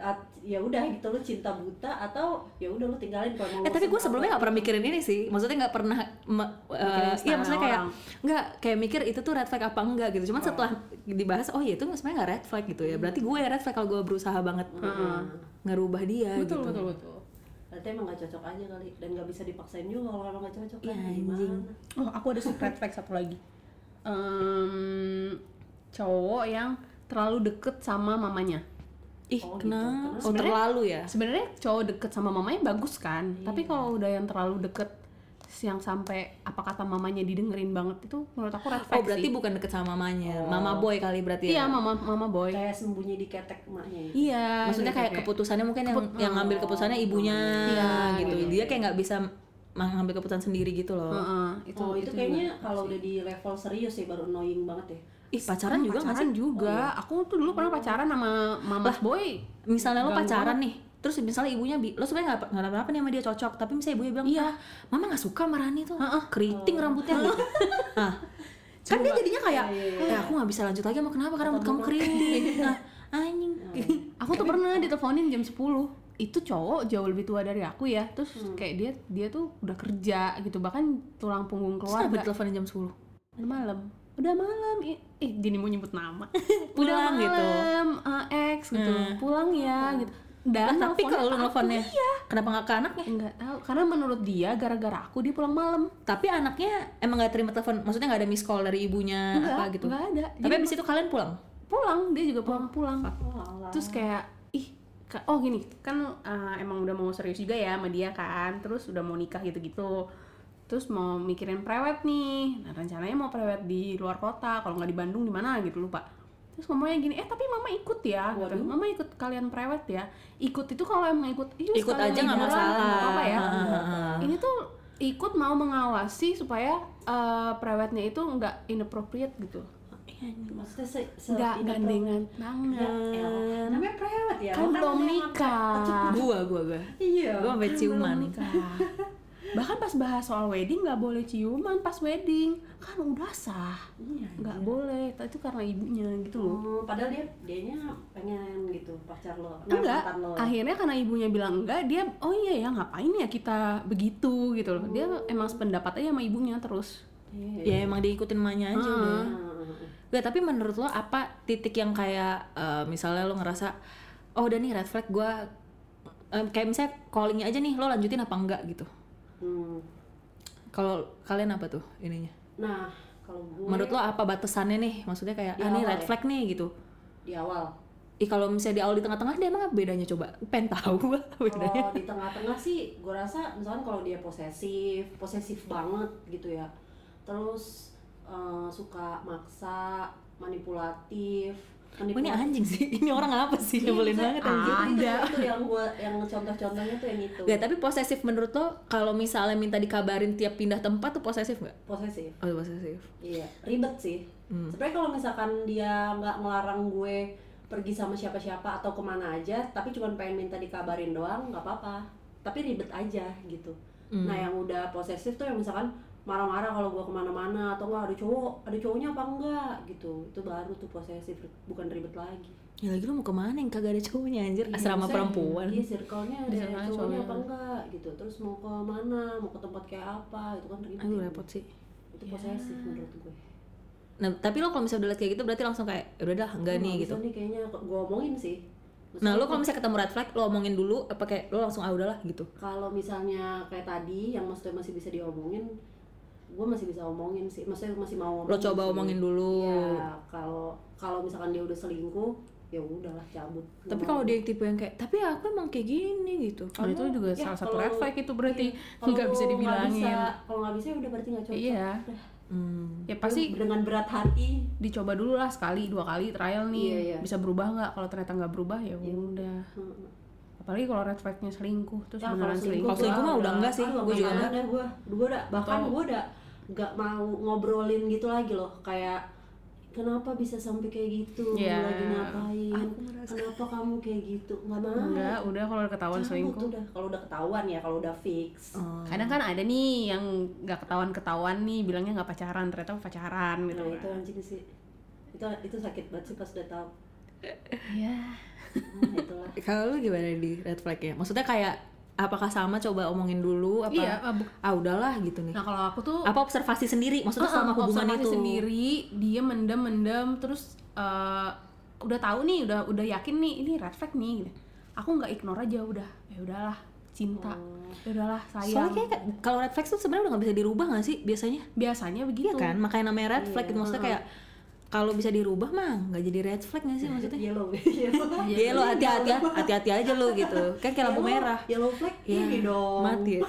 B: at- ya udah gitu lu cinta buta atau ya udah lu tinggalin kalau mau
C: Eh
B: bosen
C: tapi gue
B: atau-
C: sebelumnya nggak pernah mikirin ini sih, maksudnya nggak pernah, me-
A: Mikirin
C: eh, iya maksudnya kayak
A: orang.
C: nggak kayak mikir itu tuh red flag apa enggak gitu. Cuman setelah dibahas, oh iya itu sebenarnya nggak red flag gitu ya. Berarti gue red flag kalau gue berusaha banget ngerubah dia
A: betul
C: gitu.
A: betul betul
B: berarti emang gak cocok aja kali dan gak bisa dipaksain juga kalau emang gak cocok kan
C: Ya,
B: gimana
C: anjing.
A: oh aku ada red flag satu lagi Em, cowok yang terlalu deket sama mamanya
C: Ih
B: Oh, gitu. Terus
C: kenal, oh
A: sebenarnya-
C: terlalu ya.
A: Nah, sebenarnya cowok deket sama mamanya bagus kan
C: Iya.
A: tapi kalau udah yang terlalu deket yang sampai apa kata mamanya didengerin banget itu menurut aku red flag
C: Oh berarti
A: sih.
C: bukan deket sama mamanya, ya? mama boy kali berarti
A: iya
C: ya.
A: mama mama boy
B: kayak sembunyi di ketek emaknya ya
A: iya
C: Maksudnya
A: gitu,
C: kayak Oh, keputusannya mungkin yang yang ngambil keputusannya ibunya
A: Iya,
C: gitu.
B: iya,
C: Dia kayak nggak bisa mengambil keputusan sendiri gitu loh.
A: Heeh, itu,
B: oh itu,
A: itu
B: kayaknya
A: juga.
B: kalau udah di level serius ya baru annoying banget ya
C: Ih pacaran Oh, iya. juga nggak sih?
A: pacaran juga aku tuh dulu pernah pacaran sama mama boy
C: misalnya lo pacaran nih terus misalnya ibunya bi- lo sebenarnya nggak nggak apa-apa nih sama dia cocok tapi misalnya ibunya bilang iya mama nggak suka sama Rani tuh keriting rambutnya gitu [laughs] nah kan dia jadinya
B: Iya,
C: kayak "Eh, aku nggak bisa lanjut lagi mau kenapa karena rambut kamu keriting [laughs] nah anjing
A: aku tuh pernah diteleponin jam 10 itu cowok jauh lebih tua dari aku ya terus
C: Hmm.
A: kayak dia dia tuh udah kerja gitu bahkan tulang punggung
C: terus kenapa
A: keluarga
C: teleponin jam 10
A: udah malam udah malam eh eh, jadi mau nyebut [laughs] nama
C: Pulang
A: udah
C: gitu.
A: malam eh, ex gitu pulang ya gitu dan
C: Lah, Nah,
A: nelfonnya
C: tapi kalau lo
A: aku,
C: nelfonnya
A: iya
C: kenapa nggak ke anaknya
A: nggak tahu karena menurut dia gara-gara aku dia pulang malam
C: tapi anaknya emang nggak terima telepon maksudnya nggak ada miss call dari ibunya
A: Nggak,
C: apa gitu
A: nggak ada.
C: tapi
A: Jadi
C: abis itu kalian pulang
A: pulang dia juga pulang pulang
B: oh alah
A: terus kayak ih ka- oh gini kan uh, emang udah mau serius juga ya sama dia kan terus udah mau nikah gitu-gitu terus mau mikirin prewed nih nah rencananya mau prewed di luar kota kalau nggak di Bandung di mana gitu lupa terus ngomongnya gini eh tapi mama ikut ya gitu.
B: Waduh.
A: mama ikut kalian prewed ya ikut itu kalau emang ikut "Ih, lu
C: Ikut
A: sekalian
C: aja nggak
A: liburan,
C: masalah."
A: nggak apa-apa ya
C: Ha, ha, ha.
A: ini tuh ikut mau mengawasi supaya uh, prewednya itu nggak inappropriate gitu
B: maksudnya se, se
A: nggak
B: ini
A: gandengan
B: pro- ya
A: banget
B: elah. namanya prewed
C: Iya,
B: ya
A: kan
B: makanya
A: belum
B: emang-
A: nikah
C: gua gua gua
B: iya
C: gua sampai ciuman
A: Belum nikah. Bahkan pas bahas soal wedding nggak boleh ciuman pas wedding kan udah sah
B: Iya.
A: nggak boleh Ta- itu karena ibunya gitu loh
B: Oh, padahal dia dianya pengen gitu pacar lo nah,
A: enggak Ah,
B: mantan lo.
A: akhirnya karena ibunya bilang enggak dia oh iya ya ngapain ya kita begitu gitu loh dia
B: Oh.
A: emang sependapat aja sama ibunya terus
B: Iya.
C: ya emang diikutin mamanya aja
A: Ah.
C: udah
B: Nah,
C: Gak, tapi menurut lo apa titik yang kayak eh, misalnya lo ngerasa oh udah nih red flag gue kayak misalnya callingnya aja nih lo lanjutin apa enggak gitu
B: hmm.
C: kalau kalian apa tuh ininya
B: Nah, kalau gue
C: menurut lo apa batasannya nih maksudnya kayak
B: Di
C: ah nih
B: awal
C: red
B: ya?
C: flag nih gitu
B: di awal
C: Ih kalau misalnya di awal di tengah-tengah dia emang apa bedanya coba pengen tahu [laughs] gua bedanya
B: kalau di tengah-tengah sih gue rasa misalkan kalau dia posesif posesif banget gitu ya terus eh, suka maksa manipulatif
C: Wah, Oh, ini anjing sih ini orang apa sih
B: Oh. Iya,
C: nyebelin
B: maksudnya-
C: banget anjing
B: Ah, itu,
A: Ada.
B: itu yang gue yang contoh-contohnya tuh yang itu
C: Gak, tapi posesif menurut lo kalau misalnya minta dikabarin tiap pindah tempat tuh posesif nggak?
B: posesif
C: Oh posesif.
B: Iya, ribet sih.
C: Hmm.
B: Sebenarnya kalau misalkan dia nggak ngelarang gue pergi sama siapa-siapa atau kemana aja, tapi cuma pengen minta dikabarin doang, nggak apa-apa. Tapi ribet aja gitu.
C: Hmm.
B: Nah yang udah posesif tuh yang misalkan marah-marah kalau gue kemana-mana atau nggak ada cowok, ada cowoknya apa enggak gitu. Itu baru tuh posesif, bukan ribet lagi.
C: Ya lagi lu mau kemana yang kagak ada cowoknya anjir
B: Iya,
C: Asrama
B: maksudnya,
C: perempuan
B: Iya, circle-nya ada
A: Circle-nya
B: cowoknya apa
A: cowoknya.
B: enggak gitu. Terus mau ke mana, mau ke tempat kayak apa, itu kan ribet.
C: Aduh repot sih
B: Itu posesif menurut gue.
C: Nah tapi lo kalau misalnya udah liat kayak gitu berarti langsung kayak "Ya udah dah enggak nih
B: Nggak
C: gitu
B: bisa nih kayaknya gue omongin sih
C: Nah
B: Iya, Maksudnya
C: lo kalau misalnya ketemu red flag lo omongin dulu apa kayak lo langsung ah udahlah gitu
B: kalau misalnya kayak tadi yang maksudnya masih bisa diomongin gue masih bisa omongin sih maksudnya masih mau
C: Lo coba
B: sih.
C: omongin dulu
B: Iya, kalau kalau misalkan dia udah selingkuh ya udahlah cabut Iya.
C: Tapi kalau dia yang tipe yang kayak tapi aku emang kayak gini gitu
A: oh, itu juga
B: Ya,
A: salah satu
B: kalau-
A: red flag itu berarti
B: Iya, kalau
A: [laughs] nggak bisa
B: lu
A: dibilangin
B: bisa, kalau nggak bisa ya udah berarti nggak cocok
A: iya
B: Udah.
C: hmm.
A: ya pasti
B: Lu dengan berat hati
A: dicoba dulu lah sekali dua kali trial nih
B: Iya, iya.
A: bisa berubah nggak kalau ternyata nggak berubah ya udah
B: Heeh.
A: apalagi kalau red flagnya selingkuh terus
B: Ya, kalau
A: beneran
B: selingkuh-
A: Ah, selingkuh, ah.
C: Kalau selingkuh mah udah enggak sih
B: Aduh,
C: Gue juga enggak
B: ada gue gue udah bahkan gue udah nggak mau ngobrolin gitu lagi loh kayak kenapa bisa sampai kayak gitu
A: Ya.
C: Iya.
B: lagi ngapain
C: Aku merasa-
B: kenapa kamu kayak gitu nggak mau
A: enggak udah kalau ketahuan
B: Cabut
A: selingkuh
B: udah kalau udah ketahuan ya kalau udah fix
C: Oh.
A: kadang kan ada nih yang nggak ketahuan ketahuan nih bilangnya nggak pacaran ternyata pacaran
C: iya.
A: gitu
B: nah
A: kan.
B: [laughs] itu anjing sih itu itu sakit banget sih pas udah tahu
A: ya
B: Hmm, itulah.
C: Kalau lu gimana di red flagnya? Maksudnya kayak apakah sama coba omongin dulu apa?
A: Iya, ah, bu-
C: Ah udahlah gitu nih.
A: nah kalau aku tuh
C: Apa observasi sendiri?
A: Ah,
C: Maksudnya selama hubungan
A: observasi
C: itu
A: sendiri dia mendem mendem terus eh, udah tahu nih udah udah yakin nih ini red flag nih gitu. aku nggak ignore aja udah ya udahlah cinta
B: Oh.
A: ya udahlah sayang
C: Oh. Soalnya kayak kalau red flag tuh sebenarnya udah nggak bisa dirubah nggak sih biasanya?
A: biasanya begitu
C: Iya kan? Makanya namanya red flag itu maksudnya
A: Iya,
C: kayak kalau bisa dirubah mah nggak jadi red flag nggak sih maksudnya?
B: Yellow, [laughs] yellow.
C: Iya lo hati-hati hati-hati aja lo gitu. Kan kayak
A: Iya.
C: lampu
B: Yellow-
C: merah.
B: Yellow flag
C: Ya,
B: ini dong.
C: Mati ya.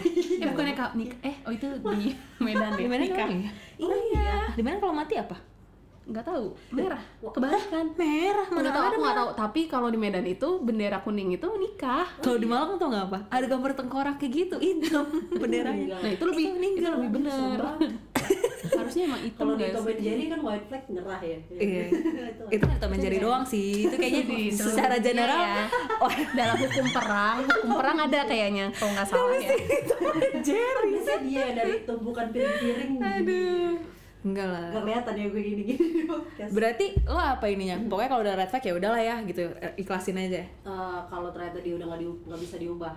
A: eh bukannya kak nik- eh oh itu di Medan ya
C: Di mana
A: nikah
C: namanya?
B: [laughs]
C: Ah,
B: Iya.
C: Di mana kalau mati apa?
A: nggak tahu merah kebalikan
C: Merah
A: nggak
C: mana
A: tahu
C: ada
A: aku nggak tahu tapi kalau di Medan itu bendera kuning itu nikah
C: Kalau di Malang tau nggak apa? Ada gambar tengkorak kayak gitu, [laughs] hitam benderanya.
A: nah itu lebih itu lebih benar harusnya emang itu
B: Iya, Kalau di
A: guys.
B: Tom and Jerry kan white flag merah ya.
C: Iya.
B: Itu
C: Itu kan Tom and Jerry doang sih. Itu
A: [laughs]
C: kayaknya
A: Di seluruh
C: secara
A: dunia
C: general
A: ya.
C: oh,
A: dalam hukum perang hukum perang ada kayaknya kalau nggak salah ya
C: Jerry.
B: Biasanya dia dari tumpukan piring-piring. Aduh.
C: Enggak lah.
B: Gak kelihatan ya gue gini-gini di podcast.
C: Berarti lo apa ininya? Pokoknya kalau udah red flag ya udahlah ya gitu, ikhlasin aja.
B: Eh, kalau ternyata dia udah nggak diu- nggak bisa diubah,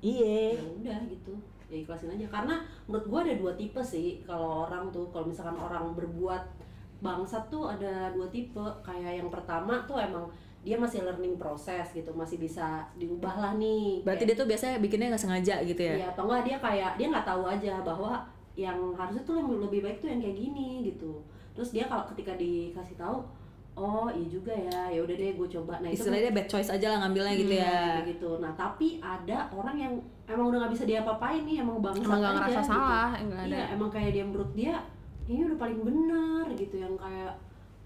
B: ya
C: Iya.
B: udah gitu ya ikhlasin aja karena menurut gua ada dua tipe sih kalau orang tuh kalau misalkan orang berbuat bangsat tuh ada dua tipe kayak yang pertama tuh emang dia masih learning proses gitu masih bisa diubah lah nih
C: Berarti dia tuh biasanya bikinnya nggak sengaja gitu
A: Iya.
C: ya?
B: ya atau enggak dia kayak dia nggak tahu aja bahwa yang harusnya tuh lebih, lebih baik tuh yang kayak gini gitu terus dia kalau ketika dikasih tahu oh iya juga ya ya udah deh gue coba nah itu
C: Istilahnya dia bad choice aja lah ngambilnya gitu ya.
B: Kayak gitu. Nah, tapi ada orang yang emang udah nggak bisa diapa-apain nih, emang bangsat
A: emang nggak
B: aja
A: ngerasa
B: gitu.
A: salah nggak ada
B: Iya, emang kayak dia menurut dia ini udah paling benar gitu yang kayak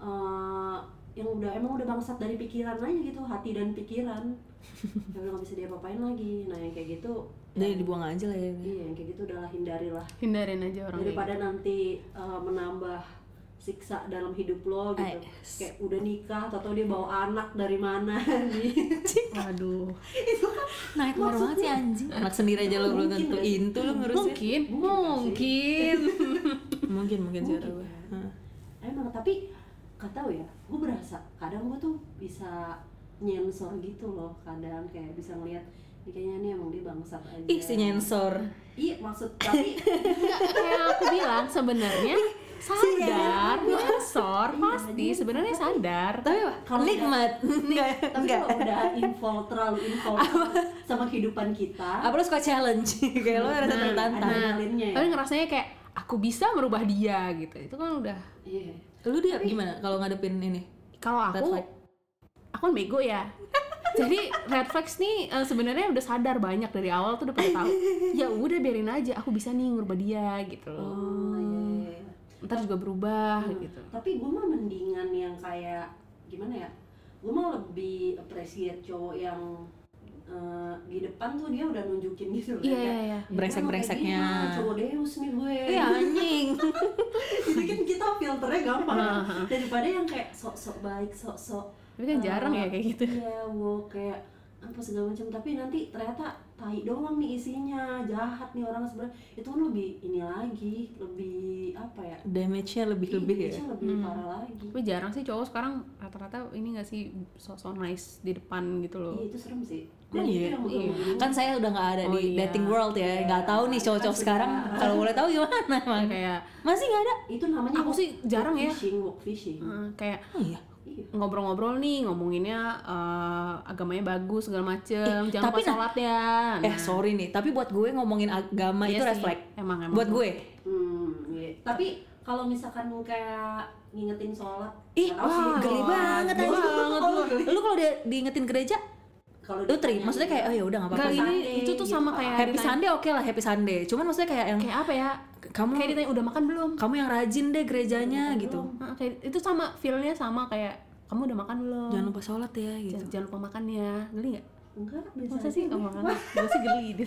B: eh, yang udah emang udah bangsat dari pikiran aja gitu, hati dan
A: [laughs]
B: pikiran. yang udah nggak bisa diapa-apain lagi. Nah, yang kayak gitu
C: Jadi
B: ya,
C: dibuang aja lah ya.
B: Iya, yang kayak gitu udahlah hindarilah
A: hindarin aja orang kayak
B: daripada nanti eh, menambah siksa dalam hidup lo gitu.
C: Ay, yes.
B: Kayak udah nikah, atau dia bawa anak dari mana [laughs]
A: gitu.
C: [laughs]
A: waduh
B: Itu kan
C: Naik marah banget sih anjing. Anak sendiri aja lo belum
B: Mungkin
C: tentu
B: nggak sih?
C: intu lo ngurusin.
A: gitu. mungkin mungkin
C: Mungkin mungkin sih
B: Mungkin
C: kata gue.
B: ya.
C: Heeh.
B: emang tapi gak tahu ya gue berasa kadang gue tuh bisa nyensor gitu loh kadang kayak bisa ngeliat ini kayaknya ini emang dia bangsat aja
C: Ih si nyensor.
B: iya maksud tapi
A: Nggak, kayak aku bilang sebenarnya sadar nyensor
B: Iya,
A: pasti sebenarnya sadar
C: Tapi apa?
B: Kalau
C: Nikmat. [laughs] Enggak.
B: tapi
C: Enggak.
B: kalau udah involved terlalu involved sama kehidupan kita
C: Apa lo suka challenge? [laughs] Kayak lo rasa
A: Nah,
C: tertantang.
A: nah
B: Adrenalinnya ya.
A: tapi ngerasanya kayak aku bisa merubah dia gitu itu kan udah
B: iya
C: Lu dia gimana kalau ngadepin ini?
A: kalau
C: Red
A: aku
C: flag.
A: aku kan bego ya jadi red flags nih eh, sebenarnya udah sadar banyak dari awal tuh udah pada tahu ya udah biarin aja aku bisa nih ngubah dia gitu loh
B: oh iya, iya. Hmm.
A: ntar juga berubah gitu
B: tapi gue mah mendingan yang kayak gimana ya gue mah lebih appreciate cowok yang eh, di depan tuh dia udah nunjukin gitu loh
A: iya
B: kayak,
A: iya iya
C: Brengsek-brengseknya.
B: Emang kayak gini, ah, cowok deus nih gue
C: Iya anjing.
B: [laughs] jadi kan kita filternya gampang kan? daripada yang kayak sok-sok baik sok-sok
A: tapi kan jarang ya kayak gitu
B: ya wow kayak apa segala macam tapi nanti ternyata tai doang nih isinya jahat nih orang sebenarnya itu kan lebih ini lagi lebih apa ya
C: [laughs] Damage-nya lebih-lebih ya.
B: Iya, lebih parah lagi
A: tapi jarang sih cowok sekarang rata-rata ini gak sih sosok nice di depan gitu loh
B: iya itu serem sih
C: Emang iya?
B: itu yang gue
A: Iya.
B: ngomongin.
C: Kan saya udah nggak ada
A: Oh,
C: di
A: iya.
C: dating world ya,
B: Iya.
C: nggak tahu nih cowok-cowok
B: Kan
C: sekarang.
B: sudah.
C: Kalau boleh tahu gimana? Emang?
A: kayak
C: Masih nggak ada?
B: itu namanya
A: Aku
B: walk-
A: sih jarang ya.
B: fishing walk fishing
A: eh, kayak
C: Oh, iya.
B: iya
A: ngobrol-ngobrol nih ngomonginnya eh, agamanya bagus segala macem
C: Eh,
A: jangan lupa
C: tapi nah-
A: sholat ya
C: Eh sorry nih, tapi buat gue ngomongin agama
A: Iya
C: itu red
A: sih,
C: flag.
A: emang emang
C: Buat gue,
B: Hmm, iya. Tapi kalau misalkan kayak ngingetin sholat,
C: ih
B: nggak tahu sih.
A: wah,
C: geli
A: wah,
C: banget
A: geli
C: anjing.
A: banget
C: Oh, Lu kalau dia diingetin gereja,
B: Kalau
C: lu terima. Maksudnya kayak, oh ya udah nggak
A: Gak
C: apa-apa.
B: Enggak,
A: ini
B: Sunday
A: itu tuh
B: gitu
A: sama
B: kan.
A: kayak
C: Happy
A: ditanya-
C: Sunday oke lah, happy Sunday. Hmm. Cuman maksudnya kayak yang
A: kayak apa ya
C: kamu
A: kayak ditanya udah makan belum
C: kamu yang rajin deh gerejanya gitu.
A: Heeh, kayak itu sama feelnya sama kayak kamu udah makan belum
C: Jangan lupa sholat ya gitu.
A: jangan, jangan lupa makan ya geli nggak
B: enggak gitu. biasa
A: masa
B: aja.
A: sih nggak makan gue sih geli gitu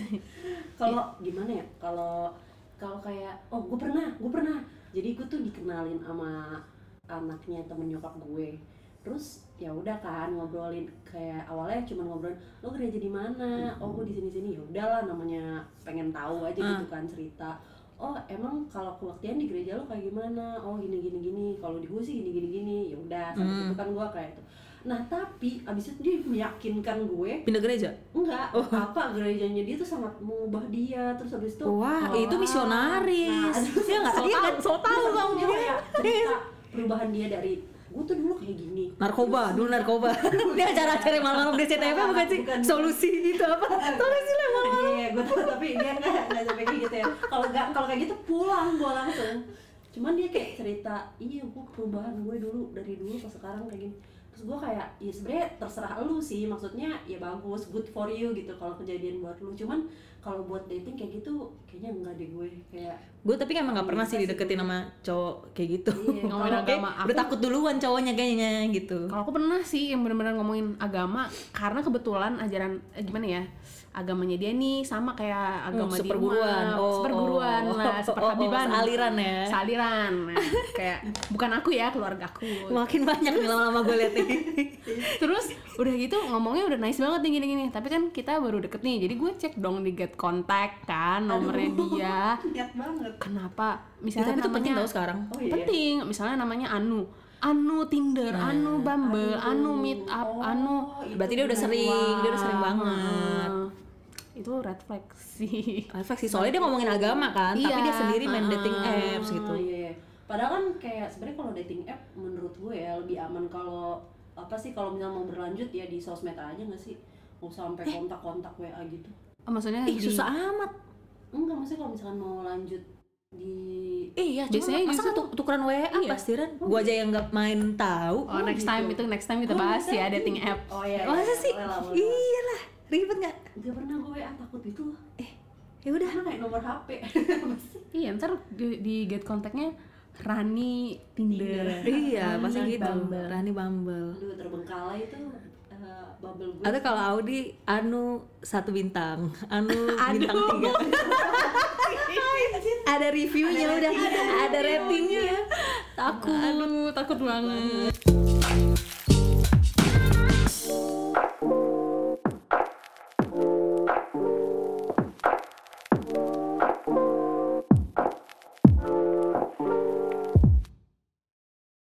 B: Kalau gimana ya? Kalau kalau kayak oh gue pernah, gue pernah. Jadi gue tuh dikenalin sama anaknya temen nyokap gue. Terus ya udah kan ngobrolin kayak awalnya cuma ngobrolin lo gereja di mana? Oh gue di sini sini. Ya udahlah namanya pengen tahu aja gitu kan cerita. Oh emang kalau kebaktian di gereja lo kayak gimana? Oh gini gini gini. Kalau di gue sih gini gini gini. Ya udah. Sampai
C: Hmm.
B: situ kan gue kayak itu. Nah tapi abis itu dia meyakinkan gue
C: pindah gereja
B: enggak
C: Oh.
B: apa gerejanya dia tuh sangat mengubah dia terus abis itu
C: wah
B: oh,
C: itu
B: ah.
C: misionaris
B: Nah, aduh,
C: Iya
B: [laughs]
C: nggak
B: so
C: dia
B: tau.
C: nggak Iya. so tau
B: Terus
C: bang
B: dia kayak cerita perubahan dia dari gue tuh dulu kayak gini
C: narkoba dulu narkoba ini acara-acara malam-malam di CTF bukan sih
B: Bukan.
C: solusi itu apa solusi lah Bang.
B: iya gue tahu tapi dia nggak nggak sampai kayak gitu ya kalau nggak kalau kayak gitu pulang gue langsung cuman dia kayak cerita iya gue perubahan gue dulu dari dulu ke sekarang kayak gini terus gue kayak ya sebenernya terserah lu sih maksudnya ya bagus good for you gitu kalau kejadian buat lu cuman kalau buat dating kayak gitu kayaknya enggak deh gue kayak
C: gue tapi emang nggak pernah sih dideketin sama cowok kayak gitu
B: Iya,
A: ngomongin
C: Oke,
A: agama. Aku-
C: udah takut duluan cowoknya kayaknya gitu
A: Kalau aku pernah sih yang benar-benar ngomongin agama karena kebetulan ajaran eh, gimana ya agamanya dia nih sama kayak agama di
C: Hmm, seperguruan.
A: rumah,
C: Oh,
A: seperguruan
C: oh,
A: lah,
C: oh,
A: seperhabiban.
C: oh, sealiran ya.
A: Sealiran. Nah, kayak bukan aku ya, keluargaku.
C: makin banyak nih lama-lama gue liat [laughs] nih
A: Terus udah gitu ngomongnya udah nice banget nih gini-gini. Tapi kan kita baru deket nih, jadi gue cek dong di get contact kan nomornya dia.
B: niat banget
A: Kenapa?
C: Ya,
A: Misalnya
C: tapi itu penting
A: namanya
C: tau sekarang
B: oh iya ya?
A: penting. Misalnya namanya Anu, Anu Tinder,
C: Iya.
A: Anu Bumble, Anu Meet Up,
B: Oh,
A: Anu.
B: itu
C: berarti dia udah
B: bener.
C: sering dia udah sering
A: Wah,
C: banget
A: Ah, Itu red flag sih.
C: Efek sih soalnya dia ngomongin agama kan tapi
A: Iya,
C: dia sendiri main
A: heeh.
C: dating apps gitu
B: Ah, iya, iya. Padahal kan kayak sebenarnya kalau dating app menurut gue ya lebih aman kalau apa sih kalau misalnya mau berlanjut ya di sosmed aja nggak sih? Nggak usah sampai kontak-kontak WA gitu.
A: [laughs] Oh, maksudnya
C: ih
A: di-
C: susah amat
B: Enggak maksudnya kalau misalkan mau lanjut di
C: iya
A: Biasanya
C: biasanya masa
A: justru-
C: tuk- tukeran WA
A: Iya.
C: pasti kan gua aja yang nggak main tahu Eh,
A: Oh, next time itu next time kita bahas ya dating app.
B: Oh iya. iya,
C: masa sih
B: boleh lah, boleh lah.
C: iya lah ribet nggak
B: Nggak pernah gue WA takut gitu loh.
C: ya udah
B: Karena kayak nomor HP.
A: Iya, ntar di, di get kontaknya Rani Tinder. [laughs]
C: iya
A: Rani
C: pasti gitu
A: Bumble.
C: Rani Bumble
B: [laughs] Aduh terbengkalai itu eh, bubble gue.
C: atau kalau Audi Anu satu bintang Anu bintang tiga ada reviewnya udah ada ratingnya
A: Takut, takut banget.